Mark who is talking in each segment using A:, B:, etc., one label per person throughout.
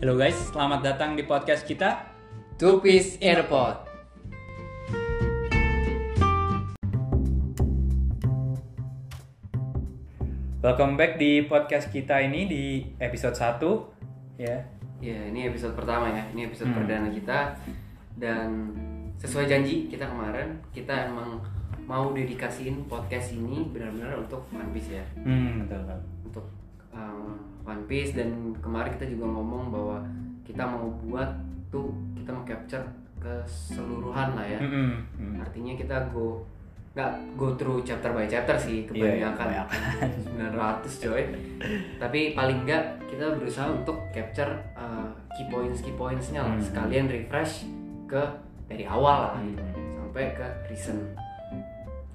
A: Halo guys, selamat datang di podcast kita.
B: Two Piece Airport.
A: Welcome back di podcast kita ini di episode 1 ya.
B: Ya, ini episode pertama ya. Ini episode
A: Hmm.
B: perdana kita dan sesuai janji kita kemarin, kita emang mau dedikasiin podcast ini benar-benar untuk One Piece ya.
A: Hmm, betul. Bang.
B: Untuk um, One Piece dan kemarin kita juga ngomong bahwa kita mau buat tuh kita mau capture keseluruhan lah ya.
A: Mm-mm, mm.
B: Artinya kita go nggak go through chapter by chapter sih
A: Iya, iya,
B: kebanyakan. 900 coy tapi paling enggak kita berusaha untuk capture uh, key points key pointsnya lah
A: Hmm.
B: sekalian refresh ke dari awal lah gitu,
A: Hmm.
B: sampai ke recent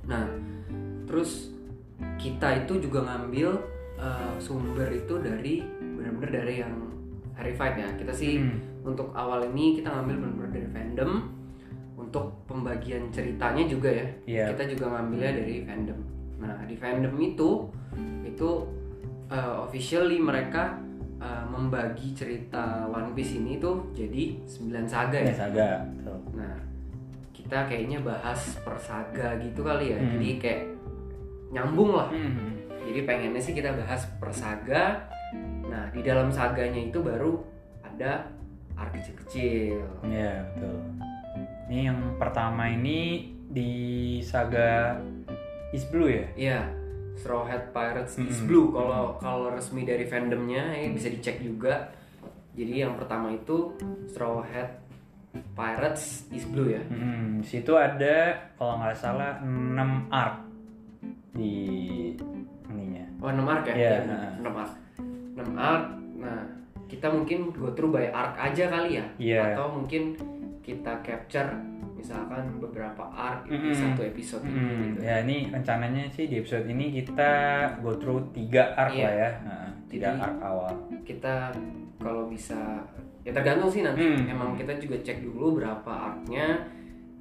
B: nah terus kita itu juga ngambil uh, sumber itu dari benar-benar dari yang verified ya kita sih
A: Hmm.
B: untuk awal ini kita ngambil benar-benar dari fandom untuk pembagian ceritanya juga ya
A: Iya.
B: kita juga ngambilnya dari fandom nah di fandom itu itu uh, officially mereka uh, membagi cerita One Piece ini tuh jadi 9 saga
A: Ya,
B: ya
A: saga. Betul.
B: nah kita kayaknya bahas per saga gitu kali ya
A: Hmm.
B: jadi kayak nyambung lah
A: Hmm.
B: jadi pengennya sih kita bahas per saga nah di dalam saganya itu baru ada arc kecil-kecil
A: Ya, betul. Ini yang pertama ini di saga East Blue ya.
B: Iya, Straw Hat Pirates is
A: Mm-mm.
B: Blue. Kalau kalau resmi dari fandomnya
A: Hmm.
B: ya bisa dicek juga. Jadi yang pertama itu Straw Hat Pirates is Blue ya.
A: Hmm, di situ ada kalau nggak salah 6 arc di ininya.
B: Oh, 6 arc ya?
A: Iya,
B: Iya,
A: nah.
B: 6 arc. 6 arc. Nah, kita mungkin go through by arc aja kali ya.
A: Iya.
B: Atau mungkin kita capture misalkan beberapa arc di
A: Mm-mm.
B: satu episode ini
A: Hmm,
B: gitu.
A: ya ini rencananya sih di episode ini kita go through tiga arc
B: Iya.
A: lah ya, Heeh, tiga
B: Jadi-
A: arc awal.
B: kita kalau bisa ya tergantung sih nanti
A: Hmm.
B: emang kita juga cek dulu berapa arc-nya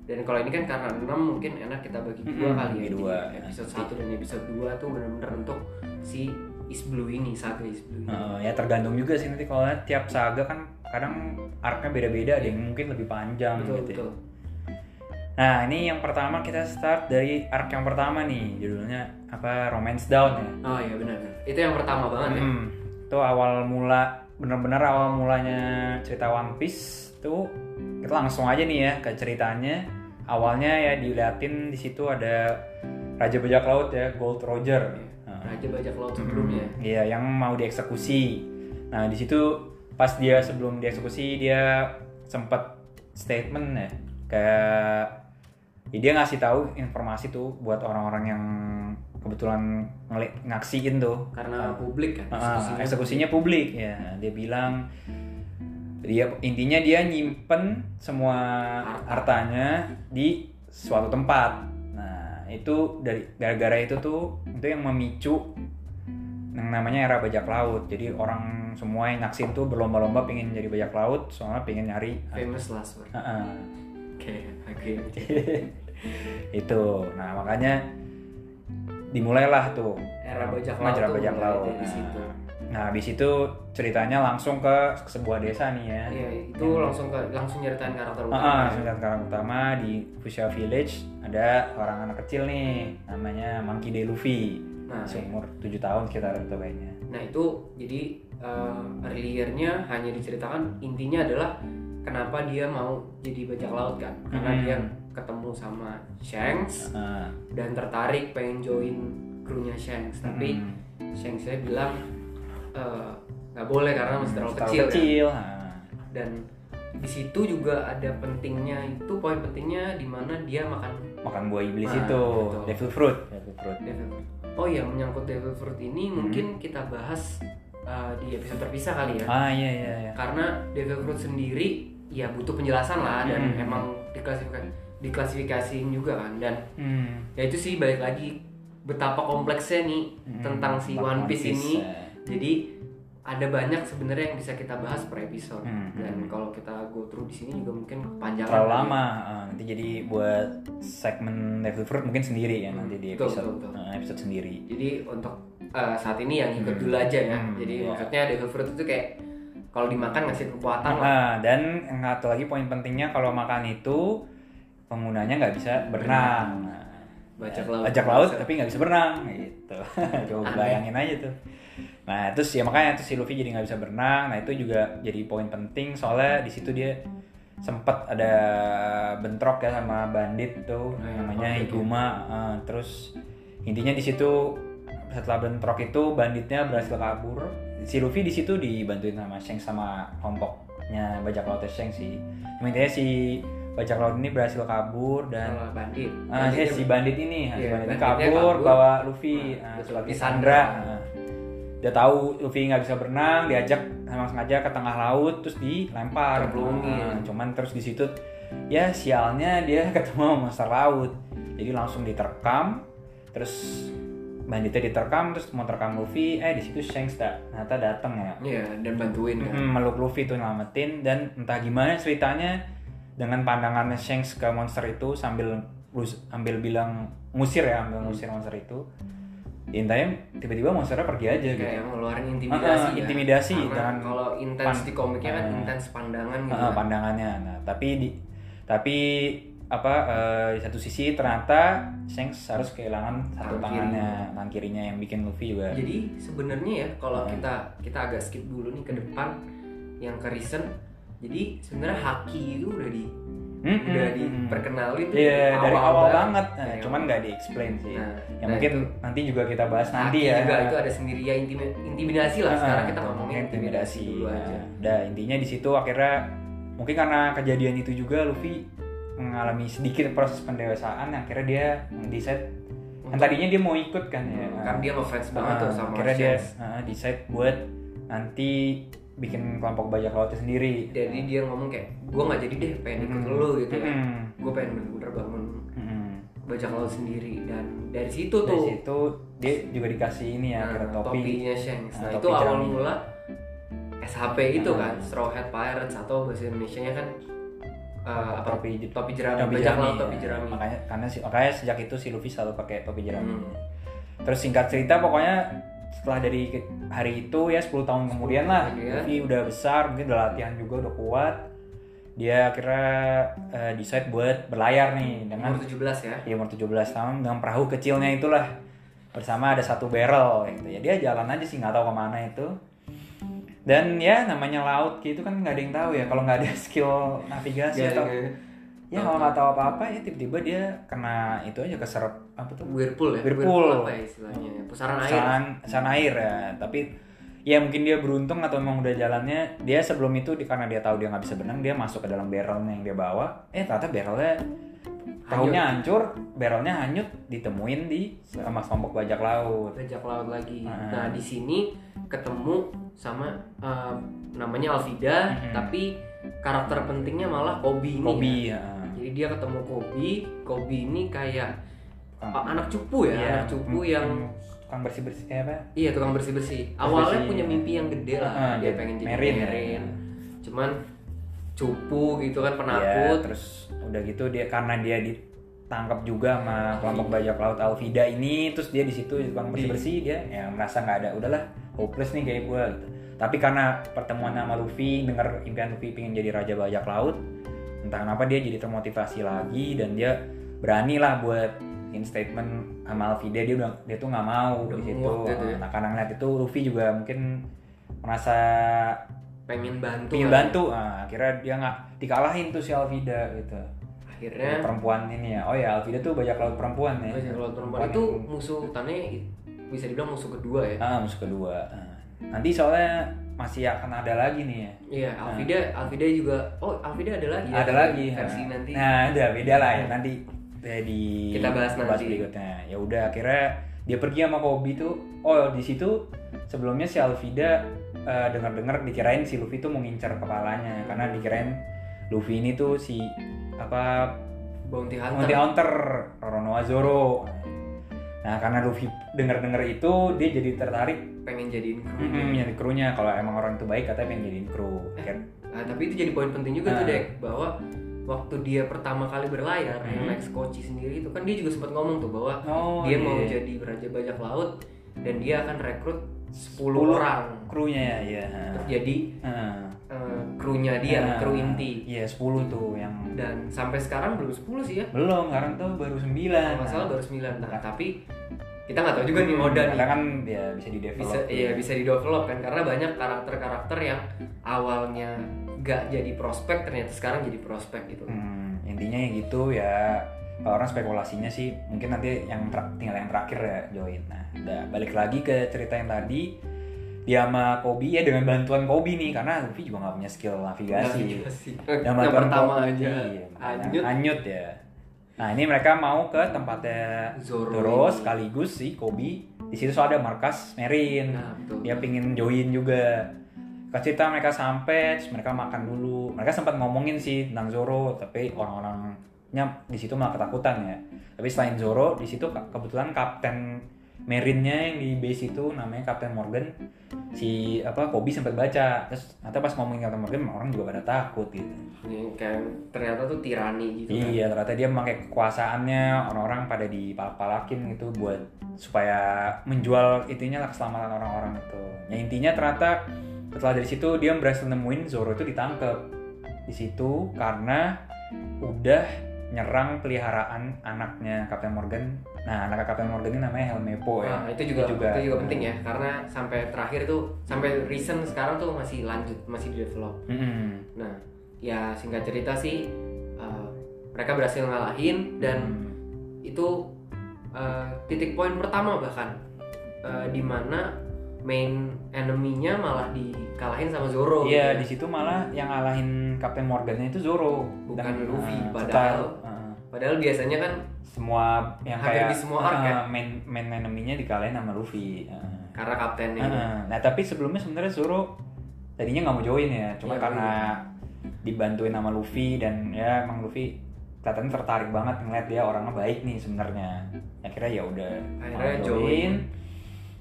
B: dan kalau ini kan karena 6 mungkin enak kita bagi dua
A: Hmm,
B: kali ya
A: bagi
B: Jadi
A: dua.
B: episode 1 dan episode 2 tuh bener-bener untuk si Is Blue ini saga Is Blue ini
A: Heeh, ya tergantung juga sih nanti kalau lihat tiap saga kan kadang arc-nya beda-beda, ada yang mungkin lebih panjang
B: Iya. betul
A: gitu. ya.
B: betul
A: Nah ini yang pertama kita start dari arc yang pertama nih, judulnya apa Romance Down ya.
B: oh iya benar benar. itu yang pertama banget ya
A: Hmm, itu awal mula bener-bener awal mulanya cerita One Piece tuh kita langsung aja nih ya ke ceritanya awalnya ya diliatin di situ ada Raja Bajak Laut ya Gold Roger Nah,
B: Raja ya? Bajak Laut sebelumnya
A: iya yang mau dieksekusi nah di situ pas dia sebelum dieksekusi dia sempat statement ya kayak ya, dia ngasih tahu informasi tuh buat orang-orang yang kebetulan ngelik ngaksiin tuh
B: karena publik kan
A: Ah,
B: eksekusinya.
A: eksekusinya publik ya dia bilang dia intinya dia nyimpen semua hartanya di suatu tempat nah itu dari gara-gara itu tuh itu yang memicu yang namanya era bajak laut jadi orang semua yang naksin tuh berlomba-lomba pengen jadi bajak laut soalnya pengen nyari
B: famous last word
A: Ah, ah.
B: oke oke
A: itu nah makanya dimulailah tuh Nah,
B: era Bajak Laut
A: Majalah
B: tuh
A: Bajak
B: mulai
A: Laut.
B: dari
A: Nah,
B: situ.
A: Nah, habis itu ceritanya langsung ke sebuah desa nih ya.
B: Iya, itu langsung ke, langsung nyeritain
A: Ah,
B: karakter utama.
A: ah,
B: ya.
A: langsung ke karang utama di Fuchsia Village ada orang anak kecil nih namanya Monkey D. Luffy.
B: Nah,
A: Seumur 7 tahun sekitar itu kayaknya.
B: Nah itu jadi uh, earlier-nya hanya diceritakan intinya adalah kenapa dia mau jadi bajak laut kan karena
A: Hmm.
B: dia ketemu sama Shanks
A: Ah,
B: dan tertarik pengen join krunya Shanks tapi
A: mm,
B: Shanksnya bilang "Eh, nggak boleh karena masih terlalu kecil, kan.
A: Hmm, kecil. ah.
B: dan di situ juga ada pentingnya itu poin pentingnya di mana dia makan
A: makan buah iblis
B: Nah,
A: itu,
B: betul.
A: devil fruit, devil fruit.
B: devil fruit. Oh iya menyangkut devil fruit
A: Hmm.
B: ini mungkin kita bahas uh, di episode terpisah kali ya
A: Ah, iya iya iya.
B: karena devil fruit sendiri ya butuh penjelasan lah dan
A: Hmm.
B: emang diklasifikasi diklasifikasiin juga kan dan
A: Hmm.
B: ya itu sih balik lagi betapa kompleksnya nih
A: Hmm,
B: tentang si
A: tentang
B: One Piece, ini
A: ya.
B: jadi ada banyak sebenarnya yang bisa kita bahas per episode
A: Hmm.
B: dan kalau kita go through di sini juga mungkin kepanjangan
A: terlalu
B: kali ya.
A: lama ah, nanti jadi buat segmen Devil Fruit mungkin sendiri ya
B: Hmm,
A: nanti di
B: betul,
A: episode
B: betul, betul.
A: eh, episode sendiri
B: jadi untuk eh, saat ini yang ikut dulu aja ya
A: Hmm,
B: jadi
A: iya.
B: maksudnya devil fruit itu kayak kalau dimakan ngasih kekuatan lah
A: Nah, dan yang satu lagi poin pentingnya kalau makan itu penggunanya nggak bisa berenang. Nah,
B: Bajak laut.
A: Bajak laut tapi nggak bisa berenang gitu. Coba bayangin aja tuh. Nah, terus ya makanya terus si Luffy jadi nggak bisa berenang. Nah, itu juga jadi poin penting soalnya di situ dia sempat ada bentrok ya sama bandit tuh
B: Nah,
A: namanya
B: bandit ya.
A: Higuma. Eh, terus intinya di situ setelah bentrok itu banditnya berhasil kabur. Si Luffy di situ dibantuin sama Shanks sama kelompoknya Ya, bajak laut Shanks sih. Cuma Intinya si bajak laut ini berhasil kabur dan
B: Kalau bandit
A: Nah. Ah,
B: Banditnya
A: eh, si bandit ini, ah, si
B: Oh. Iya,
A: bandit ini
B: banditnya
A: kabur,
B: kabur.
A: bawa Luffy,
B: Nah,
A: nah,
B: terus
A: Luffy
B: Luffy
A: Sandra.
B: Sandra.
A: Nah, Dia tahu Luffy nggak bisa berenang, diajak emang sengaja ke tengah laut, terus dilempar. Nah,
B: Terpelungin.
A: cuman terus di situ, ya sialnya dia ketemu sama monster laut, jadi langsung diterkam, terus banditnya diterkam, terus mau terkam Luffy, eh di situ Shanks da- ternyata dateng ya.
B: Iya, dan bantuin kan.
A: Mm, meluk Luffy tuh nyelamatin dan entah gimana ceritanya dengan pandangannya Shanks ke monster itu sambil lus- ambil bilang ngusir ya
B: Mm.
A: ambil ngusir monster itu intinya tiba-tiba monsternya pergi aja gitu
B: Kayak ngeluarin intimidasi
A: Ah, ah,
B: ya.
A: intimidasi,
B: Karena
A: jangan-
B: kalau intens
A: pan-
B: di komiknya kan
A: Ah.
B: intens pandangan gitu.
A: Eh,
B: kan.
A: pandangannya nah tapi di tapi apa eh, di satu sisi ternyata Shanks harus kehilangan satu
B: Tangan
A: tangannya tangan kirinya yang bikin Luffy juga
B: Jadi sebenarnya ya kalau
A: Hmm.
B: kita kita agak skip dulu nih ke depan yang ke recent. Jadi sebenarnya haki itu udah di
A: Mm,
B: udah
A: mm, mm.
B: diperkenalin tuh
A: Iya, dari awal banget, Nah,
B: Dari
A: cuman
B: awal.
A: nggak di explain sih
B: Nah,
A: ya
B: nah,
A: mungkin
B: itu.
A: nanti juga kita bahas nanti
B: Haki
A: ya
B: juga itu ada sendiri ya intimi- intimidasi lah. Sekarang kita ngomongin intimidasi dulu
A: Nah,
B: aja.
A: udah intinya di situ akhirnya mungkin karena kejadian itu juga Luffy mengalami sedikit proses pendewasaan akhirnya dia decide yang tadinya dia mau ikut kan ya
B: kan dia ngefans banget
A: Ah,
B: tuh sama
A: akhirnya dia
B: Shanks.
A: ah, decide buat nanti bikin kelompok bajak lautnya sendiri Hmm,
B: Jadi dia ngomong kayak gue nggak jadi deh pengen ikut
A: Mm-mm.
B: lo gitu ya.
A: Mm-mm.
B: Gue pengen bener-bener bangun
A: Mm-mm.
B: bajak laut sendiri dan dari situ tuh
A: hmm. dari situ dia juga dikasih ini ya akhirnya
B: nah,
A: topi
B: topinya Shanks. Nah,
A: Nah,
B: itu
A: topi
B: awal
A: jerami.
B: mula SHP itu
A: Nah.
B: kan Straw Hat Pirates atau bahasa Indonesia-nya kan eh, apa
A: topi
B: topi jerami,
A: topi
B: bajak
A: jerami,
B: laut topi
A: ya.
B: jerami.
A: makanya karena si- makanya sejak itu si Luffy selalu pakai topi jerami
B: Hmm.
A: terus singkat cerita pokoknya setelah dari ke- hari itu ya 10 tahun kemudian lah
B: kemudian.
A: Luffy udah besar mungkin udah latihan juga udah kuat dia akhirnya eh, decide buat berlayar nih dengan
B: Umur 17 ya.
A: di umur 17 tahun dengan perahu kecilnya itulah bersama ada satu barrel gitu ya dia jalan aja sih nggak tahu kemana itu dan ya namanya laut gitu kan nggak ada yang tahu ya kalau nggak ada skill navigasi atau
B: Jaringnya
A: ya kalau nggak tahu apa-apa ya tiba-tiba dia kena itu aja keserap apa tuh
B: Whirlpool ya.
A: Whirlpool.
B: apa ya istilahnya? Pusaran air.
A: saran saran air ya tapi ya mungkin dia beruntung atau emang udah jalannya dia sebelum itu di- karena dia tahu dia nggak bisa berenang dia masuk ke dalam barrelnya yang dia bawa eh ternyata barrelnya tahunnya hancur barrelnya hanyut ditemuin di sama kelompok bajak laut
B: bajak laut lagi.
A: Hmm.
B: Nah, di sini ketemu sama eh, namanya Alvida,
A: Hmm.
B: tapi karakter pentingnya malah Kobi ini. ya.
A: Kobi ya.
B: Jadi dia ketemu Kobi, Kobi ini kayak
A: Tukang-
B: a- anak cupu ya,
A: Iya,
B: anak cupu
A: mm,
B: yang
A: mm, tukang bersih bersih apa
B: iya tukang bersih-bersih. Awalnya
A: bersih.
B: punya mimpi yang gede lah,
A: Ah, jadi
B: dia pengen jadi
A: marine
B: marine.
A: ya.
B: Cuman cupu gitu kan
A: ya,
B: penakut.
A: terus udah gitu dia karena dia ditangkap juga sama kelompok bajak laut Alvida ini terus dia di situ bang bersih bersih dia ya merasa nggak ada udahlah hopeless nih kayak gue gitu. tapi karena pertemuan sama Luffy dengar impian Luffy pengen jadi raja bajak laut entah kenapa dia jadi termotivasi lagi dan dia berani lah buat in statement sama Alvida dia udah dia tuh nggak mau
B: Udah
A: di situ
B: muak gitu ya.
A: nah karena ngeliat itu Luffy juga mungkin merasa
B: pengen
A: Iya.
B: bantu.
A: pengen
B: kan.
A: bantu nah, akhirnya dia nggak dikalahin tuh si Alvida gitu
B: Akhirnya
A: perempuan ini ya oh ya Alvida tuh bajak laut perempuan ya
B: bajak laut perempuan itu musuh utamanya bisa dibilang musuh kedua ya.
A: yang- ah musuh kedua Ah. nanti soalnya masih akan ada lagi nih ya
B: Iya, Alvida, Alvida juga. Oh, Alvida ada lagi. ya?
A: ada lagi
B: versi
A: Ah.
B: nanti.
A: nah ada beda lah ya nanti eh, di
B: Kita bahas nanti.
A: berikutnya ya udah akhirnya dia pergi sama Kobi tuh oh di situ sebelumnya si Alvida eh, dengar-dengar dikirain si Luffy tuh mau ngincer kepalanya karena dikirain Luffy ini tuh si apa
B: Bounty Hunter.
A: Monty Hunter, Roronoa Zoro. Nah, karena Luffy denger-denger itu dia jadi tertarik
B: pengen jadiin kru.
A: mm yang krunya kalau emang orang itu baik katanya pengen jadiin kru. kan? Akhir-
B: Nah, tapi itu jadi poin penting juga tuh
A: Nah.
B: Dek bahwa waktu dia pertama kali berlayar yang
A: Hmm.
B: naik Kochi sendiri itu kan dia juga sempat ngomong tuh bahwa
A: Oh,
B: dia
A: iya.
B: mau jadi raja bajak laut dan dia akan rekrut 10,
A: 10
B: orang
A: krunya ya.
B: jadi eh,
A: Heeh.
B: krunya dia,
A: Nah,
B: ya, kru inti.
A: Iya, 10 tuh yang
B: Dan sampai sekarang belum 10 sih ya.
A: belum, sekarang tuh baru 9.
B: Kalau nggak salah baru 9. Nah, tapi kita nggak tahu juga nih Oda
A: Karena
B: nih.
A: kan ya bisa di develop.
B: Bisa iya bisa di develop kan karena banyak karakter-karakter yang awalnya nggak jadi prospek ternyata sekarang jadi prospek gitu.
A: Hmm, intinya ya gitu ya. Kalau orang spekulasinya sih mungkin nanti yang ter- tinggal yang terakhir ya join. Nah, udah balik lagi ke cerita yang tadi dia sama Kobi ya dengan bantuan Kobi nih karena Luffy juga nggak punya skill navigasi.
B: Navigasi.
A: Yang
B: Yang
A: bantuan
B: pertama
A: Kobi,
B: aja.
A: iya,
B: Anyut
A: anyut ya. Nah, ini mereka mau ke tempatnya
B: Zoro.
A: Doro
B: ini.
A: sekaligus si Kobi. Di situ soalnya ada markas Merin.
B: Nah, betul.
A: dia pingin join juga Kak cerita mereka sampai terus mereka makan dulu mereka sempat ngomongin sih tentang Zoro tapi orang-orangnya di situ malah ketakutan ya tapi selain Zoro di situ ke- kebetulan kapten Marinnya yang di base itu namanya Kapten Morgan si apa Kobi sempat baca terus ternyata pas ngomongin Kapten Morgan orang juga pada takut gitu
B: Ini kayak ternyata tuh tirani gitu. kan.
A: Iya, ternyata dia memakai kekuasaannya orang-orang pada dipalak-palakin gitu buat supaya menjual itunya lah keselamatan orang-orang itu. Ya intinya ternyata setelah dari situ dia berhasil nemuin Zoro itu ditangkap di situ karena udah nyerang peliharaan anaknya Kapten Morgan. Nah, anak Kapten Morgan ini namanya Helmepo ya.
B: Nah, itu juga,
A: Itu juga.
B: itu juga penting ya karena sampai terakhir tuh sampai recent sekarang tuh masih lanjut masih di develop.
A: Mm-mm.
B: Nah, ya singkat cerita sih eh, mereka berhasil ngalahin dan
A: Hmm.
B: itu eh, titik poin pertama bahkan eh, di mana main enemy-nya malah dikalahin sama Zoro.
A: Iya, di
B: gitu ya.
A: situ malah yang ngalahin Kapten Morgannya itu Zoro,
B: Bukan
A: Dan,
B: Luffy,
A: eh,
B: padahal.
A: total, eh,
B: Padahal biasanya kan
A: semua yang
B: Hampir
A: kayak
B: di semua arc ya?
A: eh, main main enemy-nya dikalahin sama Luffy. Heeh.
B: karena kaptennya gitu.
A: Heeh. Nah tapi sebelumnya sebenarnya Zoro tadinya nggak mau join ya, cuma
B: Iya,
A: karena dibantuin sama Luffy dan ya emang Luffy kelihatannya tertarik banget ngeliat dia orangnya baik nih sebenarnya. Akhirnya ya udah
B: Akhirnya
A: mau
B: join.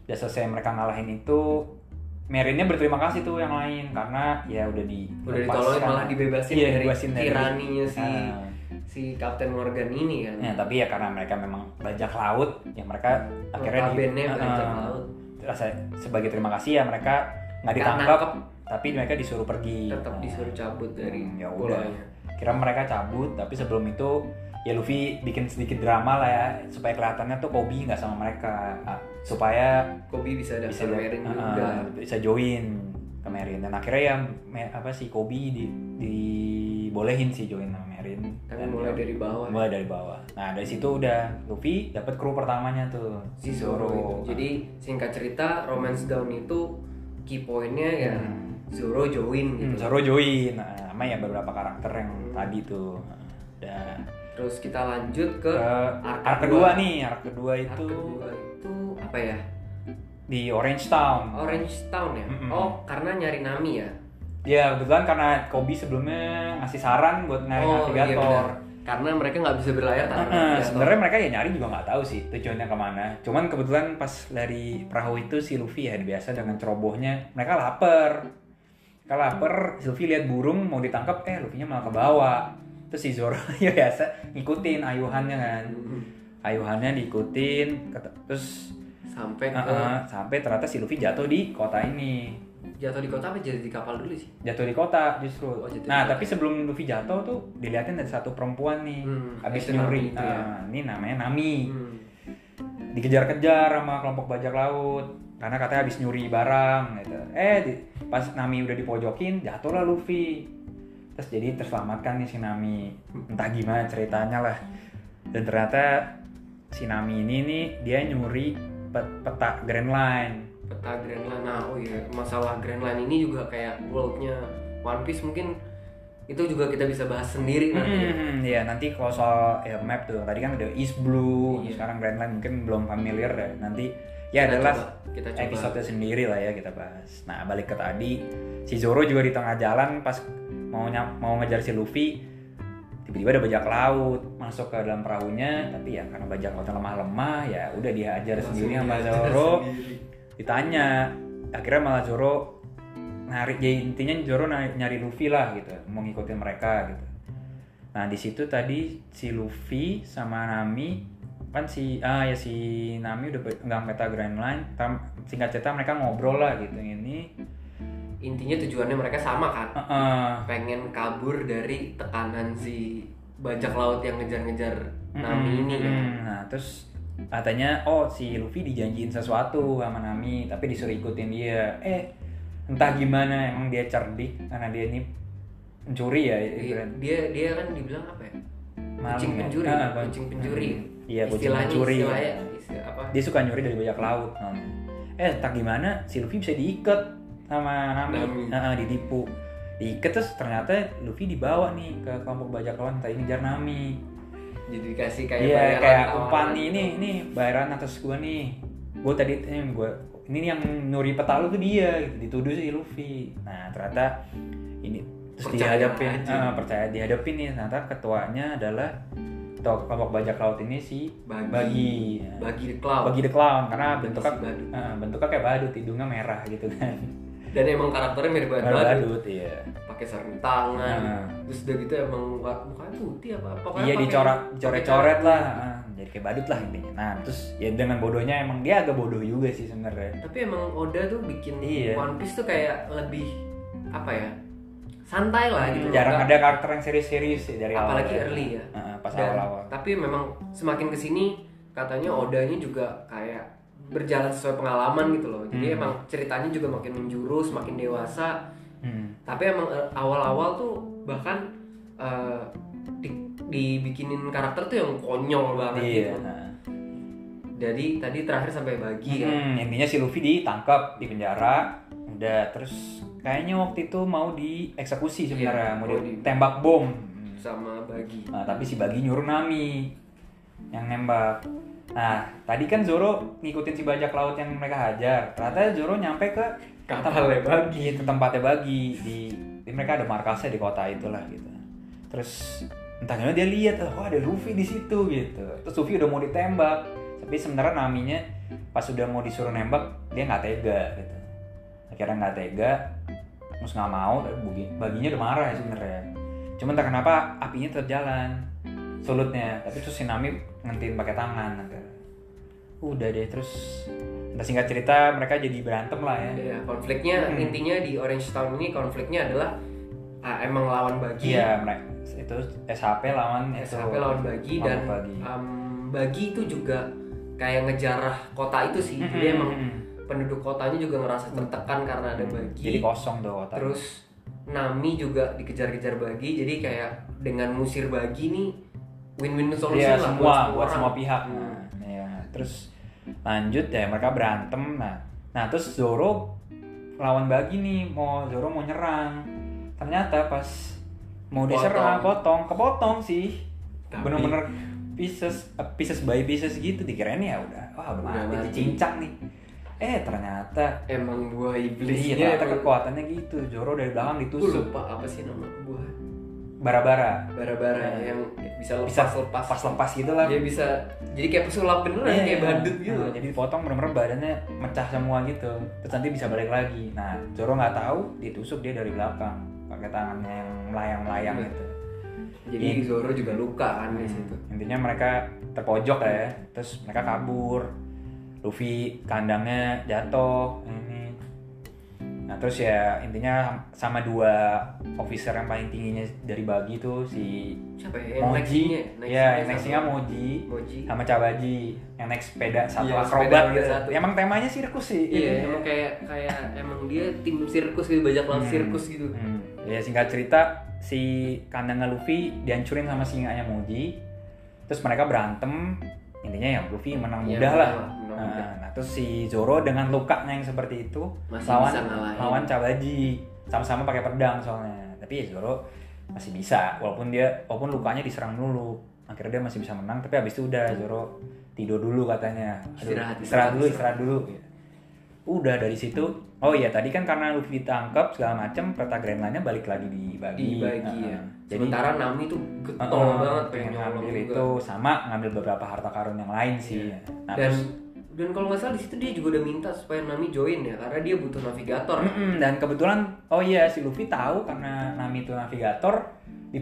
A: Udah selesai mereka ngalahin itu, Marinnya berterima kasih tuh yang lain karena ya udah di
B: udah ditolongin
A: lepaskan.
B: malah dibebasin
A: Iya,
B: dari
A: dibebasin dari- Ah.
B: tiraninya si
A: Heeh.
B: si Kapten Morgan ini kan.
A: Ya, tapi ya karena mereka memang bajak laut, ya mereka akhirnya di, Ah,
B: Notabene bajak
A: Heeh.
B: laut.
A: Rasa- sebagai terima kasih ya mereka nggak
B: Nggak
A: ditangkap,
B: nangkep.
A: tapi mereka disuruh pergi.
B: tetap
A: Nah,
B: disuruh cabut dari
A: hmm, ya udah.
B: pulaunya.
A: Kira mereka cabut, tapi sebelum itu ya Luffy bikin sedikit drama lah ya supaya kelihatannya tuh Kobe nggak sama mereka, Ah, supaya
B: Kobi bisa
A: bisa Ah,
B: daftar Merin
A: Heeh,
B: juga.
A: bisa join ke Marine. Dan akhirnya ya me- apa sih Kobe di dibolehin sih join sama Marine.
B: Tapi
A: Dan ya
B: mulai
A: dia-
B: dari bawah.
A: mulai dari bawah. Nah dari situ udah Luffy dapat kru pertamanya tuh
B: Hmm. si Zoro itu. Jadi singkat cerita Romance Down itu key point-nya ya
A: Hmm.
B: Zoro
A: Hmm,
B: join gitu. Hmm.
A: Zoro join, nah, sama ya beberapa karakter yang tadi tuh. Udah
B: Terus kita lanjut
A: ke
B: ke
A: arc,
B: arc
A: kedua
B: kedua.
A: nih, arc kedua
B: arc
A: itu
B: kedua itu apa ya?
A: di Orange Town.
B: Orange Town ya.
A: Mm-mm.
B: Oh, karena nyari Nami ya.
A: Ya kebetulan karena Kobe sebelumnya ngasih saran buat nyari
B: oh, iya
A: navigator.
B: benar. Karena mereka nggak bisa berlayar tanpa
A: Heeh,
B: navigator.
A: sebenarnya mereka ya nyari juga nggak tahu sih tujuannya kemana. Cuman kebetulan pas dari perahu itu si Luffy ya biasa dengan cerobohnya mereka lapar. Kalau lapar, si Luffy lihat burung mau ditangkap, eh Luffy-nya malah ke bawah. Terus si Zoro ya biasa ngikutin ayuhannya kan.
B: Mm-mm.
A: Ayuhannya diikutin, kata- terus
B: sampai ke
A: heeh, sampai ternyata si Luffy jatuh di kota ini.
B: jatuh di kota apa jadi di kapal dulu sih?
A: Jatuh di kota justru.
B: Oh, jatuh di
A: nah,
B: kota.
A: tapi sebelum Luffy jatuh tuh dilihatin ada satu perempuan nih.
B: Hmm,
A: habis
B: itu
A: nyuri.
B: Nami itu ya.
A: Ah, ini namanya Nami.
B: Hmm.
A: dikejar-kejar sama kelompok bajak laut karena katanya habis nyuri barang gitu. Eh di- pas Nami udah dipojokin jatuhlah Luffy. Terus jadi terselamatkan nih si Nami. Entah gimana ceritanya lah. Dan ternyata si Nami ini nih dia nyuri pe- peta Grand Line.
B: peta Grand Line. Nah, oh iya, masalah Grand Line ini juga kayak worldnya One Piece mungkin itu juga kita bisa bahas sendiri nanti.
A: Hmm, ya nanti kalau soal ya, map tuh tadi kan udah East Blue,
B: Iya.
A: sekarang Grand Line mungkin belum familiar ya. Nanti ya
B: Kita
A: adalah
B: coba- kita coba.
A: episode sendiri lah ya kita bahas. Nah balik ke tadi, si Zoro juga di tengah jalan pas mau nyam- mau ngejar si Luffy, tiba-tiba ada bajak laut masuk ke dalam perahunya, tapi ya karena bajak lautnya lemah-lemah ya udah dia ajar
B: Langsung
A: sendiri sama
B: diajar
A: Zoro.
B: sendiri.
A: Ditanya, akhirnya malah Zoro narik, jadi intinya Zoro na- nyari Luffy lah gitu, mau ngikutin mereka gitu. Nah di situ tadi si Luffy sama Nami kan si ah ya si Nami udah pe- pegang peta Grand Line. Tam- singkat cerita mereka ngobrol lah gitu ini.
B: intinya tujuannya mereka sama kan
A: Heeh.
B: pengen kabur dari tekanan si bajak laut yang ngejar-ngejar Nami
A: Mm-mm,
B: ini kan.
A: mm-mm. Nah, terus katanya oh si Luffy dijanjiin sesuatu sama Nami, tapi disuruh ikutin dia. Eh, entah gimana emang dia cerdik karena dia ini pencuri ya
B: Dia-
A: ibarat.
B: dia dia kan dibilang apa ya
A: Maling
B: kucing
A: ya?
B: pencuri
A: Ah, bang.
B: kucing pencuri
A: Iya, kucing
B: istilahnya
A: pencuri.
B: istilahnya istilah apa
A: Dia suka nyuri dari bajak laut. Nami.
B: Hmm.
A: Eh, entah gimana si Luffy bisa diikat sama Nami,
B: Nami.
A: Nah, ditipu. Diikat terus ternyata Luffy dibawa nih ke kelompok bajak laut tadi ngejar Nami.
B: jadi dikasih kayak
A: Iya
B: bayaran
A: kayak
B: tawaran
A: umpan nih
B: gitu.
A: nih nih bayaran atas gua nih. Gua tadi ini gua ini nih yang nyuri peta lu tuh dia gitu dituduh si Luffy. Nah ternyata ini terus
B: Percaya
A: dihadapin
B: aja.
A: eh, percaya dihadapin nih ternyata ketuanya adalah ketua kelompok bajak laut ini si
B: bagi bagi,
A: bagi
B: di cloud
A: bagi the clown karena
B: Hmm, Bagi
A: bentuknya
B: si badut.
A: eh, bentuknya kayak badut hidungnya merah gitu kan
B: dan emang karakternya mirip banget
A: Kayak
B: badut
A: badut iya
B: pakai sarung tangan
A: Nah.
B: terus udah gitu emang wa- mukanya putih apa pokoknya
A: Iya
B: pakai-
A: dicoret
B: pakai
A: dicoret-coret lah Ah, jadi kayak badut lah intinya nah terus ya dengan bodohnya emang dia agak bodoh juga sih sebenarnya
B: tapi emang Oda tuh bikin
A: Iya.
B: One Piece tuh kayak lebih apa ya santai lah gitu
A: Hmm, jarang
B: Nggak-
A: ada karakter yang serius-serius sih dari awal
B: apalagi early ya
A: Heeh, pas
B: Dan-
A: awal-awal
B: tapi memang semakin kesini katanya Odanya juga kayak berjalan sesuai pengalaman gitu loh jadi
A: Hmm.
B: emang ceritanya juga makin menjurus makin dewasa
A: Hmm.
B: tapi emang eh, awal-awal tuh bahkan eh, di- dibikinin karakter tuh yang konyol banget
A: iya
B: gitu
A: heeh.
B: jadi tadi terakhir sampai bagi ya
A: Hmm, intinya si Luffy ditangkap di penjara udah terus kayaknya waktu itu mau dieksekusi sebenarnya
B: Iya,
A: mau
B: mau
A: ditembak bom Hmm.
B: sama bagi
A: Nah, tapi si Bagi nyuruh Nami yang nembak. Nah, tadi kan Zoro ngikutin si bajak laut yang mereka hajar. Ternyata Zoro nyampe ke
B: Kapalnya
A: Bagi, ke tempatnya Bagi di, di- mereka ada markasnya di kota itulah gitu. Terus entah gimana dia lihat, oh ada Luffy di situ gitu. Terus Luffy udah mau ditembak, tapi sebenarnya Naminya pas udah mau disuruh nembak dia nggak tega gitu. Akhirnya nggak tega, terus nggak mau, tapi Bagi- Baginya udah marah ya sebenarnya. Cuman tak kenapa apinya tetap jalan sulutnya, tapi terus Sinami ngentiin pakai tangan. akhirnya. Udah deh terus entah singkat cerita mereka jadi berantem lah ya.
B: ya konfliknya
A: Hmm.
B: intinya di Orange Town ini konfliknya adalah ah, emang lawan bagi
A: Iya, mereka itu SHP lawan itu
B: SHP lawan bagi dan
A: mabuk bagi. Hmm,
B: em, bagi itu juga kayak ngejarah kota itu sih jadi
A: hmm,
B: emang penduduk kotanya juga ngerasa tertekan karena ada bagi
A: jadi kosong tuh otak.
B: terus Nami juga dikejar-kejar bagi jadi kayak dengan musir bagi nih win-win solusi
A: Iya,
B: lah
A: semua buat semua,
B: orang.
A: pihak.
B: Hmm.
A: Nah, ya. Terus lanjut ya mereka berantem. Nah, nah terus Zoro lawan bagi nih mau Zoro mau nyerang. Ternyata pas mau
B: Potong.
A: diserang potong, kepotong sih.
B: Tapi-
A: Bener-bener pieces eh, pieces by pieces gitu dikirain ya udah wah udah
B: Udah
A: mati
B: mati.
A: cincang nih. Eh ternyata
B: emang buah
A: iya,
B: iblisnya
A: ternyata
B: emang-
A: kekuatannya gitu. Zoro dari belakang
B: Aku
A: ditusuk
B: lupa apa sih nama buah
A: bara-bara.
B: bara-bara
A: Nah.
B: yang bisa
A: Bisa
B: lepas-lepas
A: Lepas-lepas gitu lah.
B: dia bisa jadi kayak pesulap beneran
A: Iya,
B: Iya, kayak
A: iya.
B: badut gitu
A: Nah, jadi dipotong bener-bener badannya mecah semua gitu. Terus nanti bisa balik lagi. Nah, Zoro nggak tahu ditusuk dia dari belakang pakai tangannya yang melayang-melayang
B: Iya.
A: gitu.
B: jadi Zoro juga luka kan
A: Hmm.
B: di situ
A: Intinya mereka terpojok lah ya. Terus mereka kabur. Luffy kandangnya jatuh ini. Nah, terus ya intinya sama dua officer yang paling tingginya dari bagi tuh si
B: siapa ya yang
A: Moji.
B: Nexinya
A: Ya, yang nextnya Moji
B: Moji
A: sama Cabaji yang naik sepeda satu
B: Iya,
A: akrobat
B: sepeda
A: gitu.
B: satu.
A: Emang temanya sirkus sih. Ini.
B: iya emang kayak kayak emang dia tim sirkus gitu bajak laut
A: Hmm.
B: sirkus gitu
A: Hmm. Ya singkat cerita si kandangnya Luffy dihancurin sama singanya Moji. Terus mereka berantem. Intinya ya Luffy menang
B: Iya,
A: mudah lah.
B: menang
A: Nah,
B: mudah.
A: nah, terus si Zoro dengan lukanya yang seperti itu
B: masih
A: lawan
B: bisa ngalahin
A: lawan Cabaji sama-sama pakai pedang soalnya. Tapi ya Zoro masih bisa walaupun dia walaupun lukanya diserang dulu. Akhirnya dia masih bisa menang tapi habis itu udah Zoro tidur dulu katanya.
B: Istirahat,
A: istirahat dulu,
B: istirahat.
A: istirahat dulu. gitu. Udah dari situ. Oh iya tadi kan karena Luffy ditangkap segala macam peta Greenlandnya balik lagi dibagi. Iya,
B: dibagi
A: Heeh.
B: ya
A: Jadi
B: sementara Nami tuh getol
A: heeh,
B: banget pengen
A: pengen
B: nyolong
A: ngambil
B: juga Iya.
A: itu sama ngambil beberapa harta karun yang lain sih. Nah,
B: dan
A: terus-
B: dan kalau nggak salah di situ dia juga udah minta supaya Nami join ya karena dia butuh navigator
A: Mm-mm, dan kebetulan oh iya si Luffy tahu karena Nami itu navigator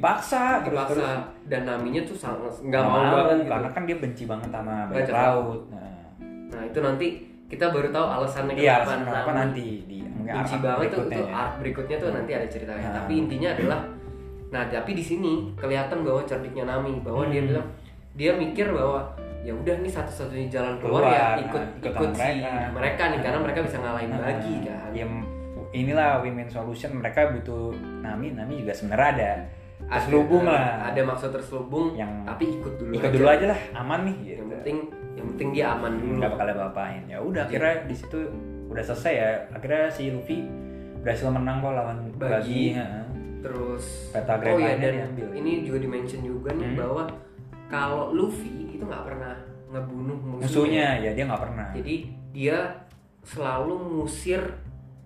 A: dipaksa terus terus
B: dipaksa dan Naminya tuh sangat nggak
A: nggak
B: mau
A: mau
B: banget gitu
A: karena kan dia benci banget sama bajak
B: Bajak
A: laut. Nah,
B: Nah itu nanti kita baru tahu alasannya
A: Iya,
B: kenapa
A: alasan apa
B: Nami
A: nanti di mungkin
B: benci
A: art
B: banget tuh
A: berikutnya
B: itu
A: ya.
B: art berikutnya tuh nanti ada ceritanya
A: Nah.
B: tapi intinya adalah nah tapi di sini kelihatan bahwa cerdiknya Nami bahwa dia
A: Hmm.
B: bilang dia mikir bahwa ya udah nih satu-satunya jalan keluar,
A: Keluar,
B: ya
A: nah,
B: ikut
A: ikut
B: ikut
A: sama
B: si
A: mereka.
B: mereka nih karena mereka bisa ngalahin
A: Nah,
B: lagi kan
A: ya, inilah women solution mereka butuh nami nami juga sebenarnya ada terselubung lah
B: ada maksud terselubung
A: yang
B: tapi ikut dulu
A: ikut
B: aja.
A: dulu aja lah aman nih gitu.
B: yang penting yang penting dia aman dulu Iya.
A: nggak bakal apa-apain ya udah akhirnya di situ udah selesai ya akhirnya si Luffy berhasil menang kok lawan
B: Bagi.
A: bagi, heeh.
B: terus
A: Pentagram
B: oh ya
A: lainnya
B: dan
A: diambil.
B: ini juga dimention juga nih
A: Hmm.
B: bahwa kalau Luffy itu nggak pernah ngebunuh musuhnya
A: musuhnya ya dia nggak pernah
B: Nah. jadi dia selalu ngusir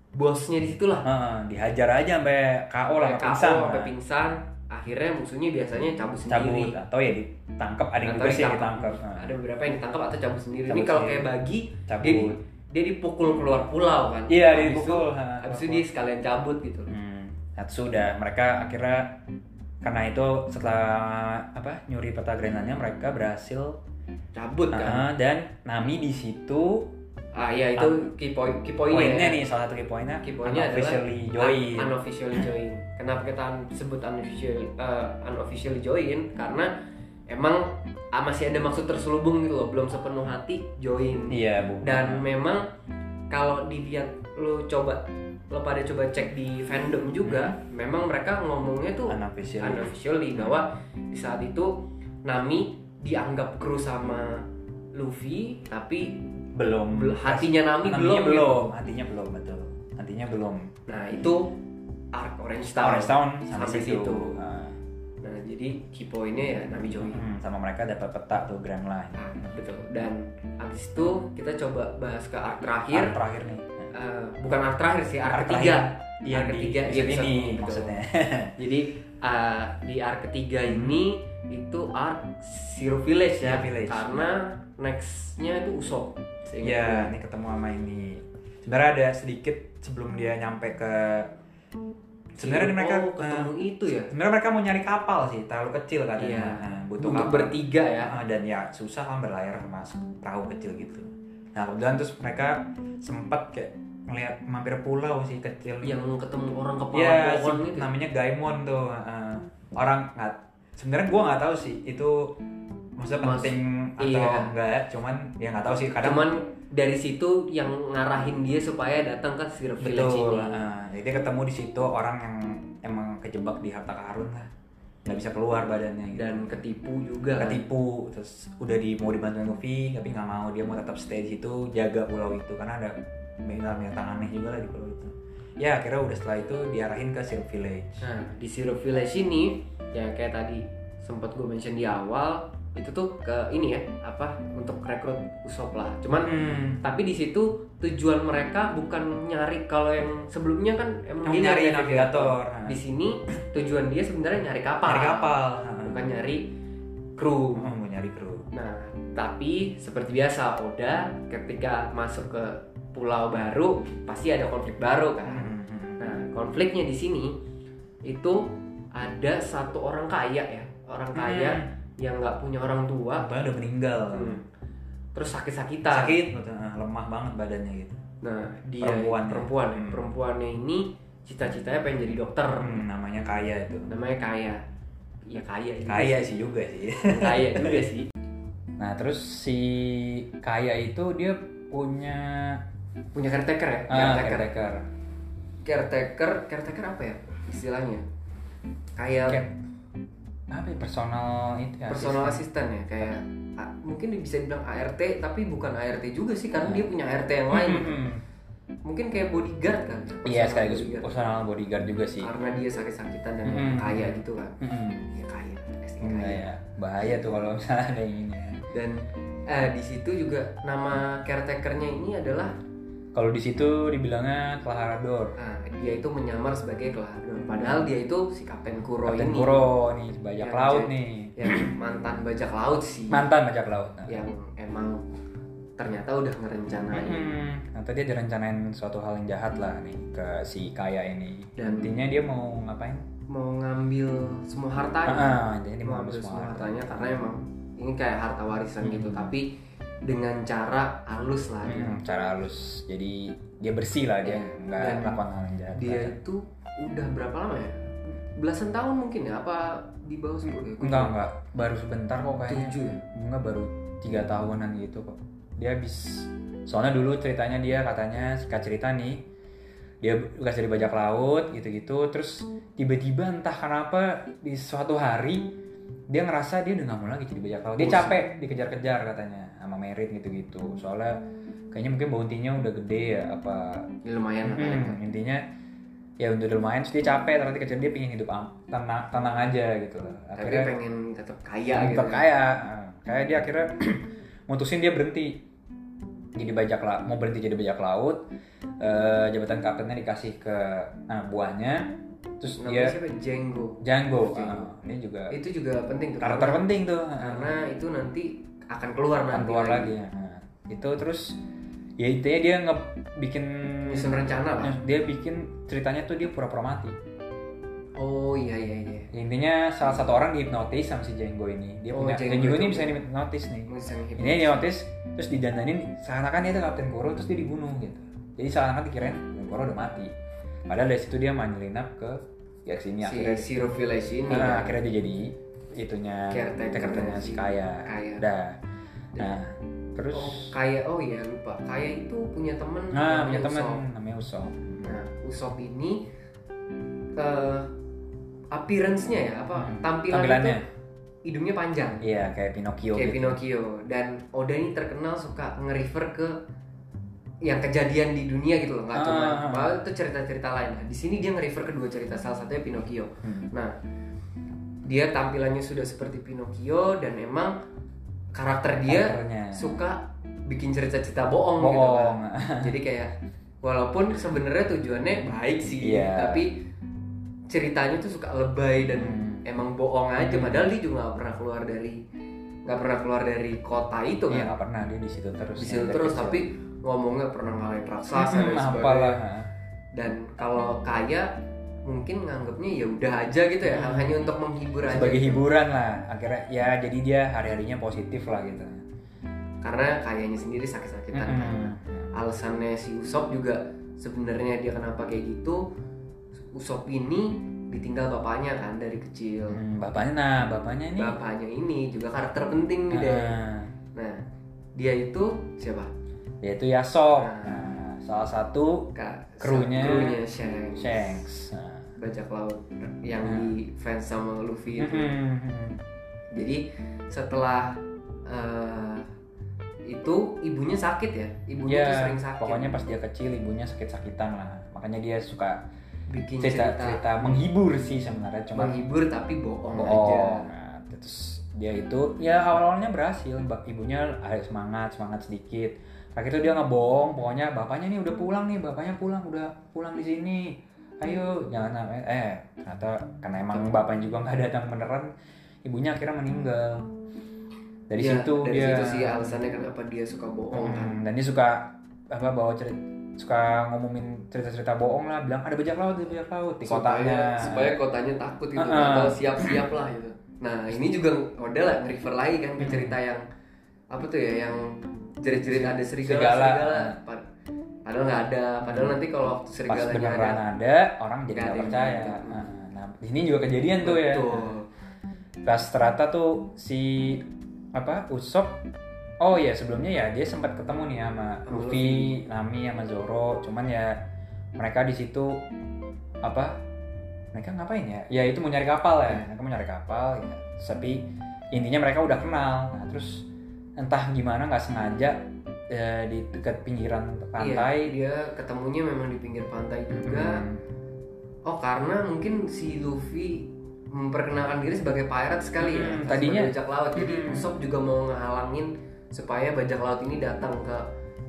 B: bosnya di situlah
A: Heeh, dihajar aja sampai KO lah sampai
B: Sampai
A: pingsan
B: KO,
A: lah.
B: sampai pingsan akhirnya musuhnya biasanya cabut sendiri
A: cabut atau ya ditangkap ada yang
B: Atau
A: juga sih yang
B: ditangkap.
A: ditangkap Heeh,
B: ada beberapa yang ditangkap atau cabut sendiri ini
A: Cabut
B: kalau
A: sendiri.
B: kayak bagi dia
A: cabut
B: di- dia dipukul keluar pulau kan
A: iya
B: Habis itu-
A: dipukul heeh,
B: habis itu
A: dipukul.
B: dia sekalian cabut gitu
A: Hmm, Hatsu udah mereka akhirnya karena itu setelah apa nyuri peta Greenlandnya mereka berhasil
B: cabut kan
A: Heeh, dan Nami di situ
B: ah iya itu key point key pointnya
A: poinnya
B: ya.
A: nih salah satu key pointnya
B: Key pointnya adalah
A: officially join
B: Un- unofficially join. Kenapa kita un- sebut unofficially eh, unofficially join? Karena emang ah, masih ada maksud terselubung gitu loh, belum sepenuh hati join.
A: iya bu
B: Dan memang kalau dilihat lo coba lo pada coba cek di fandom juga, memang mereka ngomongnya tuh
A: unofficially
B: unofficially bahwa di saat itu Nami dianggap kru sama Luffy, tapi
A: belum
B: bel- hatinya Nami
A: Hatinya
B: belum. gitu.
A: belum hatinya belum betul hatinya belum
B: Nah itu arc Orange Town.
A: Orange Town sampai,
B: Sampai
A: situ,
B: situ.
A: Nah,
B: Nah jadi key point-nya ya Nami Jomi.
A: hmm, sama mereka dapat peta tuh Grand Line
B: Nah, betul. Dan abis itu kita coba bahas ke arc terakhir.
A: Arc terakhir nih Nah,
B: Eh, bukan arc terakhir sih, arc,
A: arc
B: ketiga.
A: terakhir. Iya,
B: Arc
A: di
B: ketiga,
A: episode
B: iya,
A: ini
B: betul.
A: maksudnya
B: Jadi eh, di arc ketiga ini itu arc Zero Village ya.
A: Zero Village.
B: Karena next-nya itu Usopp. seingat
A: ya
B: gue.
A: ini ketemu sama ini sebenarnya ada sedikit sebelum dia nyampe ke sebenarnya
B: Si
A: mereka
B: Usopp oh, ketemu itu ya.
A: eh, sebenarnya mereka mau nyari kapal sih terlalu kecil katanya
B: Iya.
A: Nah, butuh
B: Untuk
A: kapal
B: bertiga ya.
A: Ah, dan ya susah kan berlayar sama perahu kecil gitu nah kemudian terus mereka sempat kayak ngeliat mampir pulau sih kecil
B: Yang ketemu orang kepala
A: ya
B: pohon gitu.
A: si-
B: itu.
A: namanya Gaimon tuh ah. orang nggak sebenarnya gua nggak tahu sih itu maksudnya
B: Mas-
A: penting atau
B: iya.
A: enggak cuman ya nggak tahu sih kadang
B: Cuman dari situ yang ngarahin dia supaya datang ke Zero Village
A: betul
B: ini.
A: ah. jadi gitu, dia ketemu di situ orang yang emang kejebak di harta karun lah nggak bisa keluar badannya gitu.
B: dan ketipu juga kan?
A: ketipu terus udah di mau dibantuin Luffy tapi nggak mau dia mau tetap stay di situ jaga pulau itu karena ada binatang-binatang aneh juga lah di pulau itu ya akhirnya udah setelah itu diarahin ke Silk Village
B: Nah, di Zero Village ini yang kayak tadi sempat gue mention di awal itu tuh ke ini ya apa untuk rekrut Usopp lah. Cuman
A: hmm.
B: tapi di situ tujuan mereka bukan nyari kalau yang sebelumnya kan emang
A: Kamu
B: dia
A: nyari navigator
B: Di sini tujuan dia sebenarnya nyari kapal.
A: nyari kapal
B: Bukan nyari
A: Oh,
B: kru.
A: mau nyari kru
B: Nah, tapi seperti biasa Oda ketika masuk ke pulau baru pasti ada konflik baru kan.
A: Hmm, hmm.
B: Nah, konfliknya di sini itu ada satu orang kaya ya,
A: Hmm.
B: orang kaya yang nggak punya orang tua,
A: Bapaknya udah meninggal
B: hmm, terus sakit-sakitan.
A: sakit betul. Ah, lemah banget badannya gitu
B: Nah, dia
A: Perempuan ya.
B: perempuan, ya.
A: Hmm.
B: perempuannya ini cita-citanya pengen jadi dokter,
A: Hmm, namanya kaya itu
B: namanya kaya, ya kaya, juga
A: kaya
B: sih.
A: sih juga sih
B: kaya juga sih.
A: nah terus si kaya itu dia punya
B: Punya caretaker ya,
A: ah,
B: caretaker,
A: caretaker.
B: caretaker, caretaker apa ya istilahnya? Kayak
A: Kayak- apa ya, personal itu ya,
B: personal assistant ya kayak a- mungkin bisa dibilang ART tapi bukan ART juga sih
A: Hmm.
B: karena dia punya ART yang lain mungkin kayak bodyguard kan
A: Iya
B: Personal
A: sekaligus
B: bodyguard.
A: personal bodyguard Hmm. juga sih.
B: karena dia sakit-sakitan dan
A: Mm-mm.
B: kaya gitu kan
A: Mm-mm.
B: ya kaya asing
A: Enggak
B: kaya
A: ya, bahaya tuh kalau misalnya ada yang ini. ya.
B: dan eh, di situ juga nama caretakernya ini adalah
A: Kalau di situ dibilangnya Klaharador,
B: ah, dia itu menyamar sebagai Clara padahal dia itu si Kapten Kuro
A: Kapten
B: ini Iya,
A: Kuro nih bajak
B: Yang
A: laut
B: jadi-
A: nih,
B: yang mantan bajak laut sih
A: mantan bajak laut. Nah.
B: yang emang ternyata udah ngerencanain
A: Mm-mm. Nah tadi dia rencanain suatu hal yang jahat lah nih ke si kaya ini.
B: Dan-
A: Intinya dia mau ngapain?
B: mau ngambil semua
A: Ah, ah,
B: hartanya
A: intinya dia
B: mau ambil semua hartanya karena emang ini kayak harta warisan gitu tapi dengan cara halus lah dia.
A: Hmm, cara halus. Jadi dia bersih lah dia,
B: Iya. Dan
A: nggak melakukan hal yang jahat.
B: Dia itu udah berapa lama ya? Belasan tahun mungkin ya? Apa di bawah sepuluh? ya?
A: Enggak, enggak. Baru sebentar kok kayaknya.
B: Tujuh ya?
A: Enggak baru tiga tahunan gitu kok. Dia habis soalnya dulu ceritanya dia katanya suka cerita nih dia bekas dari bajak laut gitu-gitu terus tiba-tiba entah kenapa di suatu hari dia ngerasa dia udah nggak mau lagi jadi bajak laut dia
B: Bosan.
A: capek dikejar-kejar katanya sama merit gitu-gitu soalnya kayaknya mungkin bounty-nya udah gede ya apa
B: Ya lumayan lah
A: Hmm,
B: kan.
A: intinya ya udah lumayan terus dia capek ternyata kecil dia pengen hidup am- tenang tenang aja gitu loh
B: Tapi
A: akhirnya
B: pengen tetap kaya
A: tetap
B: gitu.
A: kaya Nah, kayak dia akhirnya mutusin dia berhenti jadi bajak laut mau berhenti jadi bajak laut Eh, jabatan kaptennya dikasih ke ah, buahnya terus
B: Namanya
A: dia
B: siapa? Django.
A: Django
B: Django.
A: Ah, ini juga
B: Itu juga penting tuh.
A: karakter penting tuh Ah,
B: Karena itu nanti akan keluar
A: akan
B: nanti.
A: keluar lagi Nah, itu terus ya intinya dia nge bikin Nah,
B: Nyusun rencana lah.
A: dia bikin ceritanya tuh dia pura-pura mati
B: Oh iya iya iya.
A: intinya salah satu orang dihipnotis sama si Django ini dia
B: Oh,
A: punya
B: Django
A: Django, ini
B: itu.
A: bisa dihipnotis nih
B: Bisa
A: ini dihipnotis terus didandanin seakan-akan dia itu Kapten Kuro terus dia dibunuh gitu jadi seakan-akan dikirain Kapten Kuro udah mati padahal dari situ dia menyelinap ke ya sini
B: Si
A: akhirnya
B: Zero Village ini.
A: nah,
B: ya.
A: akhirnya dia jadi itunya
B: Caretaker-nya
A: caretaker-nya si
B: si
A: kaya
B: Kaya.
A: dah nah terus
B: Oh kaya oh iya lupa. Kaya itu punya temen.
A: nah punya
B: namanya
A: teman
B: Usopp.
A: namanya Usop
B: Nah, Usop ini eh appearance-nya ya, apa
A: Hmm,
B: tampilannya,
A: tampilannya
B: tuh hidungnya panjang
A: iya kayak Pinocchio
B: kayak
A: gitu.
B: Pinocchio dan Oda ini terkenal suka nge-refer ke yang kejadian di dunia gitu loh, nggak cuma
A: Ah.
B: padahal itu cerita-cerita lain. Nah, di sini dia nge-refer ke dua cerita, salah satunya Pinocchio.
A: Hmm.
B: Nah, dia tampilannya sudah seperti Pinocchio dan emang karakter dia
A: Karakternya.
B: suka bikin cerita-cerita bohong, gitu kan.
A: bohong
B: jadi kayak walaupun sebenarnya tujuannya baik sih
A: Iya.
B: tapi ceritanya tuh suka lebay dan
A: Hmm.
B: emang bohong aja
A: Hmm.
B: padahal dia juga nggak pernah keluar dari nggak pernah keluar dari kota itu
A: Iya
B: kan
A: nggak pernah dia di situ terus.
B: di situ
A: Dari
B: terus
A: kecil.
B: tapi ngomongnya pernah ngalahin raksasa
A: Hmm,
B: dan sebagainya
A: apalah.
B: dan kalau kaya mungkin nganggapnya ya udah aja gitu ya
A: Hmm.
B: hanya untuk menghibur aja
A: Sebagai hiburan lah akhirnya ya jadi dia hari harinya positif lah gitu. Hmm.
B: karena kayaknya sendiri sakit-sakitan
A: Mm-mm.
B: kan alasannya si Usop juga sebenarnya dia kenapa kayak gitu Usop ini ditinggal bapaknya kan dari kecil
A: Hmm, bapaknya nah bapaknya ini.
B: bapaknya ini juga karakter penting nih deh
A: Nah,
B: nah dia itu siapa
A: dia itu Yasok.
B: Nah.
A: Nah, salah satu
B: kak
A: Krunya.
B: krunya Shanks,
A: Shanks. Nah.
B: bajak laut yang
A: Nah.
B: di fans sama Luffy
A: gitu.
B: itu
A: Mm-mm.
B: Hmm. jadi setelah eh, itu ibunya sakit ya ibunya tuh
A: Ya,
B: sering sakit
A: pokoknya pas dia kecil ibunya sakit-sakitan lah. Makanya dia suka
B: bikin cerita,
A: cerita-cerita menghibur sih sebenarnya. Cuma
B: menghibur tapi bohong, aja
A: bohong Nah, terus dia itu ya awal-awalnya berhasil Mbak ibunya ada semangat semangat sedikit terakhir itu dia ngebohong pokoknya bapaknya nih udah pulang nih bapaknya pulang udah pulang di sini ayo jangan sampai eh ternyata karena emang bapaknya juga nggak datang beneran ibunya akhirnya meninggal dari
B: Ya,
A: situ
B: dari
A: dia
B: situ sih alasannya kenapa dia suka bohong kan
A: Hmm, dan dia suka apa bawa cerita suka ngomongin cerita-cerita bohong lah bilang ada bajak laut ada bajak laut di
B: supaya
A: kotanya
B: supaya kotanya takut gitu
A: Heeh.
B: atau siap-siap lah gitu nah ini juga Oda lah nge-refer lagi kan ke
A: Hmm.
B: cerita yang apa tuh ya yang jerit-jerit ada serigala
A: Serigala.
B: serigala. Pa- padahal nggak ada padahal nanti kalau waktu
A: pas
B: serigalanya ada
A: beneran ada, orang jadi nggak
B: Nggak ada yang
A: percaya
B: percaya.
A: nah, nah, ini juga kejadian tuh ya
B: Betul.
A: pas ternyata tuh si apa Usop oh ya sebelumnya ya dia sempat ketemu nih sama
B: Sama
A: Luffy, Nami sama Zoro cuman ya mereka di situ apa mereka ngapain ya ya itu mau nyari kapal
B: Iya.
A: ya mereka mau nyari kapal ya tapi intinya mereka udah kenal nah terus entah gimana nggak sengaja eh, di dekat pinggiran
B: Iya,
A: pantai
B: dia ketemunya memang di pinggir pantai juga
A: Hmm.
B: oh karena mungkin si Luffy memperkenalkan diri sebagai pirate sekali ya
A: Hmm,
B: sebagai
A: tadinya-
B: bajak laut jadi
A: Hmm.
B: Usopp juga mau ngehalangin supaya bajak laut ini datang ke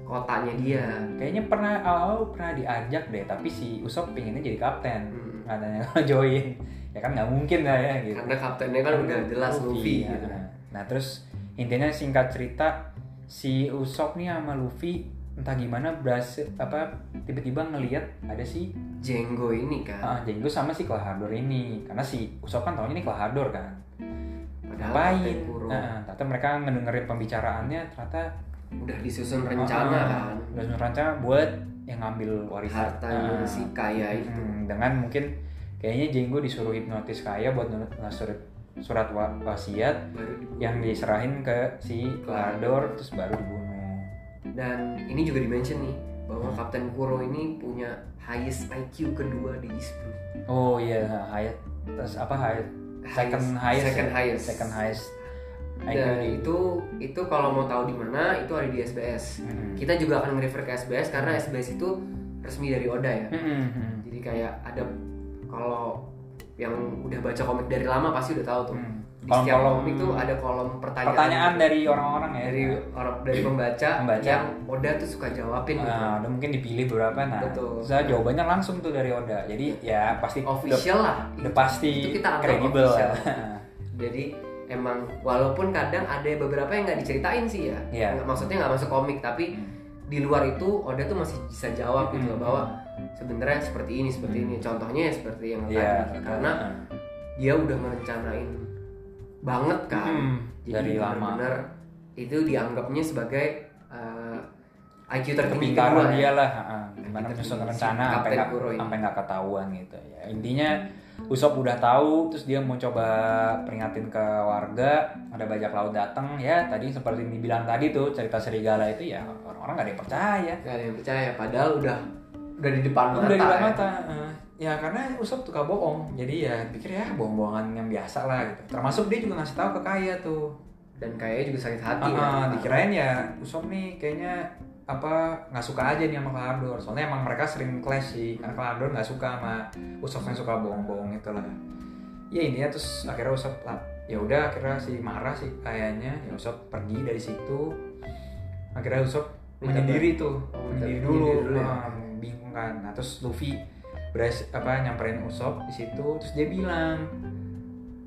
B: kotanya dia
A: Iya, Kayaknya pernah awal pernah diajak deh, tapi si Usop pinginnya jadi kapten.
B: Hmm.
A: Katanya kalau join, ya kan nggak mungkin lah ya gitu.
B: karena kaptennya kan udah jelas Luffy
A: ya.
B: gitu kan.
A: Nah terus intinya singkat cerita si Usop nih sama Luffy entah gimana berhasil apa tiba-tiba ngelihat ada si
B: Jenggo ini kan
A: ah, Jenggo sama si Kelahador ini karena si Usop kan taunya ini Kelahador kan
B: padahal
A: ngapain
B: Kapten Kuro
A: Ah. nah, ternyata mereka ngedengerin pembicaraannya ternyata
B: udah disusun rencana
A: Ah,
B: kan
A: udah disusun rencana buat yang ngambil warisan
B: hartanya
A: Ah.
B: si kaya itu
A: Hmm, dengan mungkin kayaknya Jenggo disuruh hipnotis kaya buat nulis nulis surat surat wa- wasiat
B: kan, baru dibunuh.
A: yang diserahin ke si Clador terus baru dibunuh.
B: dan ini juga dimention nih bahwa
A: Hmm.
B: Kapten Kuro ini punya highest IQ kedua di East Blue.
A: Oh iya, Hayat terus apa Hayat second highest, ya?
B: second highest.
A: second highest. IQ
B: Dan
A: di-
B: itu itu kalau mau tahu di mana itu ada di SBS.
A: Hmm.
B: Kita juga akan nge-refer ke SBS karena SBS itu resmi dari Oda ya.
A: Hmm, hmm,
B: Jadi kayak ada kalau yang udah baca komik dari lama pasti udah tahu tuh.
A: hmm.
B: Di setiap
A: Kolom-kolom
B: komik tuh ada kolom pertanyaan.
A: pertanyaan dari orang-orang ya.
B: dari orang dari pembaca,
A: Pembaca.
B: yang Oda tuh suka jawabin gitu.
A: Nah, udah mungkin dipilih berapa nah.
B: Betul.
A: Saya jawabannya langsung tuh dari Oda. Jadi ya pasti
B: Official lah.
A: udah, udah pasti
B: itu kita anggap
A: kredibel.
B: official. Jadi emang walaupun kadang ada beberapa yang nggak diceritain sih ya.
A: Iya. Hmm.
B: Nggak- Maksudnya nggak masuk komik tapi di luar itu Oda tuh masih bisa jawab gitu loh bahwa sebenarnya seperti ini
A: Hmm.
B: seperti ini contohnya ya seperti yang
A: ya
B: tadi karena dia udah merencanain banget kan
A: Hmm, dari lama.
B: benar-benar itu dianggapnya sebagai eh, IQ tertinggi kedua
A: kepintaran
B: ya.
A: dia lah ha, gimana
B: Kita
A: menyusun
B: tinggi.
A: rencana
B: Kapten
A: sampai nggak
B: Kuro ini.
A: sampai nggak ketahuan gitu ya intinya Usop udah tahu terus dia mau coba peringatin ke warga ada bajak laut datang ya tadi seperti yang dibilang tadi tuh cerita serigala itu ya orang-orang nggak ada yang percaya
B: Gak ada yang percaya padahal udah udah di depan mata.
A: udah di depan
B: ya.
A: mata eh. ya karena Usop suka bohong jadi ya pikir ya bohong-bohongan yang biasa lah gitu termasuk dia juga ngasih tahu ke Kaya tuh
B: Dan kayaknya juga sakit
A: Ah,
B: hati.
A: ah,
B: kan.
A: dikirain ya Usop nih kayaknya apa nggak suka aja nih sama Klador soalnya emang mereka sering clash sih karena Klador nggak suka sama Usop yang suka bohong-bohong itu lah ya intinya terus akhirnya Usop lah ya udah akhirnya si marah sih kayaknya ya Usop pergi dari situ akhirnya Usop
B: Minta
A: menyendiri tuh
B: Oh, minta
A: menyendiri
B: menyendiri
A: dulu,
B: dulu ya.
A: Ah, bingung kan nah terus Luffy beres apa nyamperin Usop di situ terus dia bilang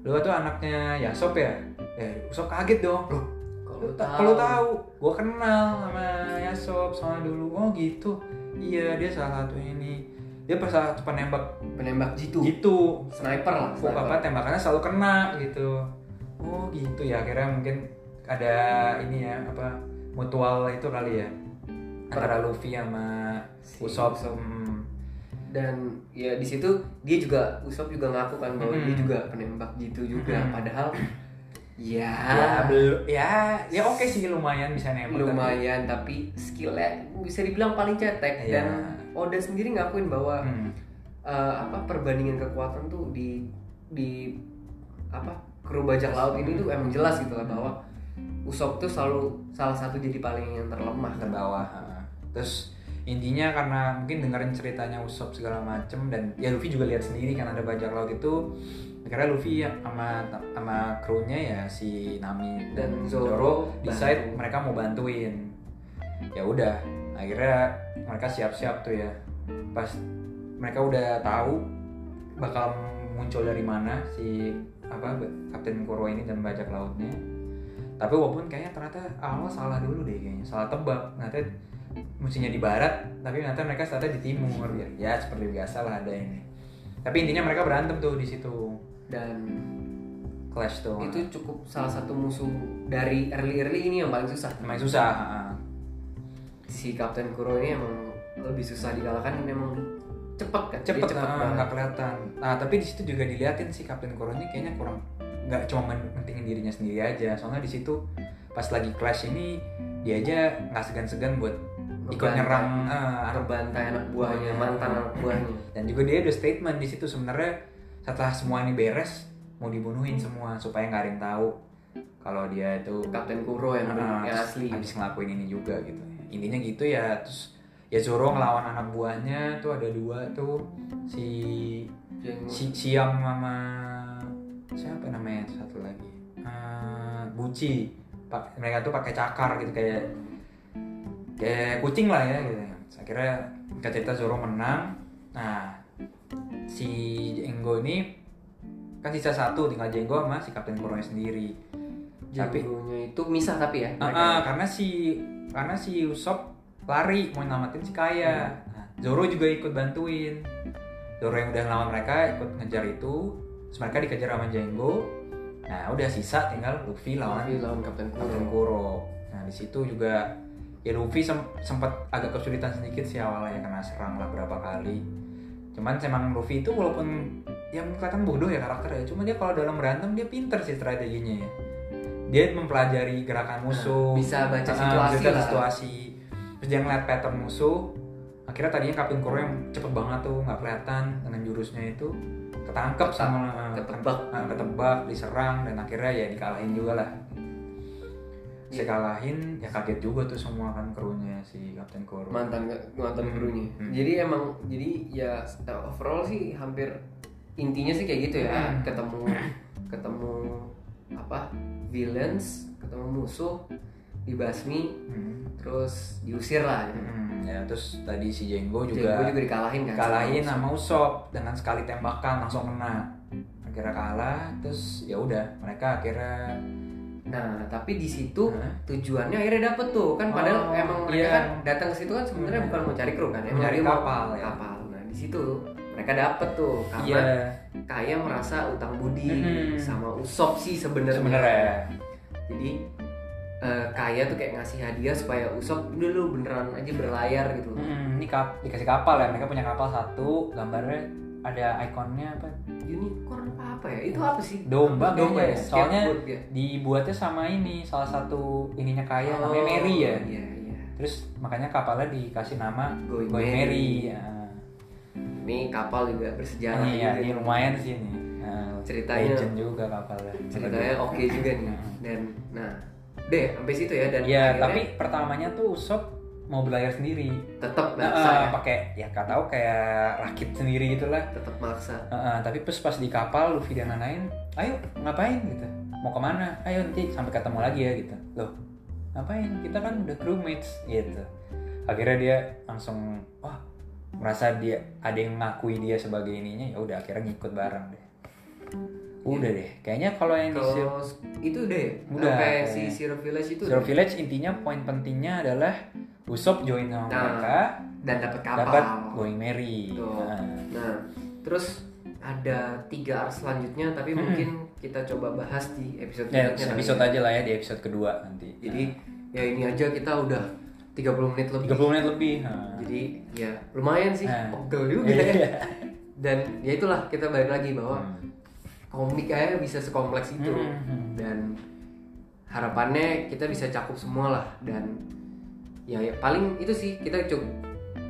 A: lu tuh anaknya Yasop ya ya Usop kaget dong loh
B: Kalau
A: Lu ta- Kalau tahu, gua kenal sama Yasop soalnya dulu. Oh gitu. Iya dia salah satu ini. Dia pas salah satu penembak
B: penembak jitu.
A: gitu.
B: Sniper lah.
A: Kok apa tembakannya selalu kena gitu. Oh gitu ya. Akhirnya mungkin ada ini ya apa mutual itu kali ya antara Luffy sama
B: Si
A: Usopp.
B: Usopp.
A: Hmm.
B: dan ya di situ dia juga Usop juga ngaku kan bahwa
A: Hmm.
B: dia juga penembak gitu juga
A: Hmm.
B: padahal ya,
A: Ya, bel- ya, ya oke sih lumayan bisa nembak. tapi-
B: lumayan tapi skillnya bisa dibilang paling
A: Iya.
B: cetek dan Oda sendiri ngakuin bahwa
A: Hmm.
B: eh, apa perbandingan kekuatan tuh di di apa kru bajak laut ini tuh emang jelas gitu lah bahwa Usop tuh selalu salah satu jadi paling yang terlemah
A: ke
B: kan.
A: bawah ha. terus intinya karena mungkin dengerin ceritanya Usop segala macem dan ya Luffy juga lihat sendiri kan ada bajak laut itu akhirnya Luffy ya sama sama krunya ya si Nami dan
B: Dan
A: Zoro
B: Zoro
A: decide
B: bantu.
A: mereka mau bantuin ya udah akhirnya mereka siap-siap tuh ya pas mereka udah tahu bakal muncul dari mana si apa Kapten Kuro ini dan bajak lautnya tapi walaupun kayaknya ternyata awal salah dulu deh kayaknya salah tebak nanti mestinya di barat tapi ternyata mereka ternyata di timur ya, ya seperti biasa lah ada ini tapi intinya mereka berantem tuh di situ
B: dan
A: clash tuh
B: itu cukup salah satu musuh dari early early ini yang paling susah
A: emang susah ha, ha.
B: si Kapten Kuro ini emang lebih susah dikalahkan dan emang cepet kan
A: cepet,
B: Dia
A: ah,
B: banget.
A: nggak kelihatan nah tapi di situ juga diliatin sih kapten Kuro ini kayaknya kurang nggak cuma men- mentingin dirinya sendiri aja soalnya di situ pas lagi clash ini dia aja nggak segan-segan buat ikut
B: Ngebantai.
A: nyerang ah,
B: terbantai anak buahnya mantan anak buahnya
A: dan juga dia ada statement di situ sebenarnya setelah semua ini beres mau dibunuhin semua supaya nggak ada yang tahu kalau dia itu
B: Kapten Kuro yang,
A: Ah,
B: yang
A: terus
B: asli
A: habis ngelakuin ini juga gitu intinya gitu ya terus ya Zoro ngelawan anak buahnya tuh ada dua tuh si
B: Yang-
A: si Siam sama siapa namanya tuh satu lagi Eh, Buci Pak- mereka tuh pakai cakar gitu kayak kayak kucing lah ya gitu akhirnya ningkat cerita Zoro menang nah si Jenggo ini kan sisa satu tinggal Jenggo sama si Kapten Kuronya sendiri tapi
B: jagonya itu misah tapi ya
A: Ah, ah, karena si karena si Usop lari mau nyelamatin si Kaya. Nah, Zoro juga ikut bantuin. Zoro yang udah ngelawan mereka ikut ngejar itu. Terus mereka dikejar sama Jenggo. Nah, udah sisa tinggal Luffy lawan
B: Luffy lawan Kapten Kuro
A: Kapten Kuro. Nah, di situ juga ya Luffy sem- sempat agak kesulitan sedikit sih awalnya kena serang lah berapa kali cuman emang Luffy itu walaupun yang kelihatan bodoh ya karakternya cuma dia kalau dalam berantem dia pinter sih strateginya ya dia mempelajari gerakan musuh
B: Nah, bisa baca
A: Ah,
B: situasi
A: bisa lihat
B: lah.
A: situasi terus dia ngeliat pattern musuh akhirnya tadinya Kapten Kuro yang cepet banget tuh nggak kelihatan dengan jurusnya itu ketangkep
B: Ketak-
A: sama
B: ketebak.
A: ah, ketebak diserang dan akhirnya ya dikalahin juga lah
B: Iya.
A: sekalahin ya kaget juga tuh semua kan krunya si Kapten Kuro
B: mantan mantan
A: Hmm.
B: gurunya.
A: Hmm.
B: Jadi emang jadi ya eh, overall sih hampir intinya sih kayak gitu ya.
A: Hmm.
B: Ketemu ketemu apa villains, ketemu musuh, dibasmi,
A: Hmm.
B: terus diusir lah. Gitu.
A: Hmm, ya terus tadi si Jenggo
B: Jadi gue
A: juga
B: juga dikalahin kan.
A: kalahin
B: sama
A: sama Usop dengan sekali tembakan langsung kena akhirnya kalah terus ya udah mereka akhirnya eh,
B: musuh. Nah tapi di situ
A: Hah?
B: tujuannya akhirnya dapet tuh kan
A: Hmm.
B: padahal
A: Oh,
B: emang mereka
A: iya.
B: kan datang ke situ kan sebenarnya
A: Hmm.
B: bukan mau cari kru kan emang
A: mencari
B: dia mau
A: kapal ya
B: kapal. Nah di situ mereka dapet tuh karena
A: Iya,
B: kaya merasa utang budi
A: Mhm.
B: sama Usop sih sebenarnya.
A: sebenarnya.
B: Jadi eh, kaya tuh kayak ngasih hadiah supaya Usop udah lu beneran aja berlayar gitu.
A: Hmm, ini kap dikasih kapal ya, mereka punya kapal satu, gambarnya ada ikonnya apa?
B: Unicorn apa apa ya? Itu apa sih?
A: Domba,
B: Kayaknya
A: domba ya. Soalnya
B: skateboard ya.
A: dibuatnya sama ini, salah satu ininya kaya namanya Mary ya.
B: Iya, iya.
A: Terus makanya kapalnya dikasih nama
B: Going
A: Boy
B: Mary.
A: Mary. Ya.
B: Ini kapal juga bersejarah.
A: Ini ya,
B: juga.
A: ini lumayan sih ini. Nah,
B: Ceritanya-
A: legend juga kapalnya. Ya,
B: Ceritanya oke juga nih. Dan nah, deh sampai situ ya dan
A: Iya,
B: akhirnya
A: tapi pertamanya tuh Usop mau belayar sendiri.
B: tetap maksa
A: Nah,
B: ya.
A: pakai ya kata tahu kayak rakit sendiri gitu gitulah.
B: Tetap maksa.
A: Heeh, tapi pas pas di kapal Luffy dan lain-lain, ayo ngapain gitu, mau kemana? Ayo nanti sampai ketemu lagi ya gitu. Loh, ngapain? Kita kan udah crewmates gitu. Akhirnya dia langsung wah merasa dia ada yang ngakui dia sebagai ininya ya udah akhirnya ngikut bareng deh. Udah deh, kayaknya kalau yang di Zero-
B: Iya. Kalau itu deh
A: Udah,
B: sampai
A: kayaknya.
B: si Zero Village itu
A: Zero Village intinya poin pentingnya adalah Usopp join sama
B: Nah,
A: mereka,
B: dan dapat kapal.
A: dapat Going Merry.
B: Betul.
A: Nah,
B: Nah, terus ada tiga arc selanjutnya, tapi
A: Hmm.
B: mungkin kita coba bahas di episode
A: Ya,
B: berikutnya kali
A: episode
B: ya.
A: aja lah ya di episode kedua nanti.
B: Jadi ya ini aja kita udah 30 menit lebih.
A: 30 menit lebih. Nah.
B: Jadi ya lumayan sih,
A: Nah.
B: pegel juga ya.
A: Iya.
B: Dan ya itulah kita balik lagi bahwa
A: Hmm.
B: komik aja bisa sekompleks itu.
A: Hmm.
B: Dan harapannya kita bisa cakup semua lah dan ya, ya paling itu sih kita cukup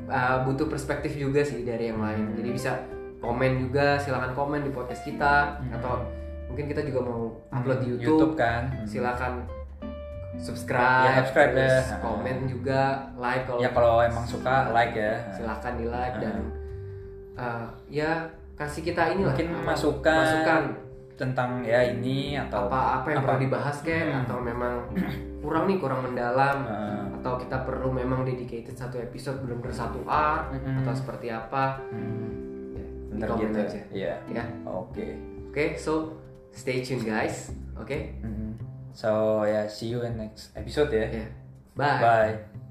B: uh, butuh perspektif juga sih dari yang lain jadi bisa komen juga silahkan komen di podcast kita
A: Hmm.
B: atau mungkin kita juga mau upload di YouTube,
A: YouTube kan. Hmm.
B: silahkan
A: Ya,
B: subscribe,
A: subscribe
B: terus
A: ya.
B: komen juga like kalau
A: Ya kalau emang suka like ya.
B: silahkan di like
A: Hmm.
B: dan uh, ya kasih kita Ah, ini
A: Mungkin Hmm. masukan, tentang ya ini atau
B: apa apa yang
A: Apa?
B: perlu dibahas kek
A: Hmm.
B: atau memang kurang nih kurang mendalam
A: Hmm.
B: atau kita perlu memang dedicated satu episode belum bersatu A
A: Mm-mm.
B: atau seperti apa
A: Hmm.
B: ya, Hmm. di
A: Ntar
B: komen
A: gitu.
B: aja
A: Iya.
B: ya
A: Oke.
B: oke so stay tune guys oke
A: Hmm. So ya see you in next episode ya.
B: ya bye
A: Bye.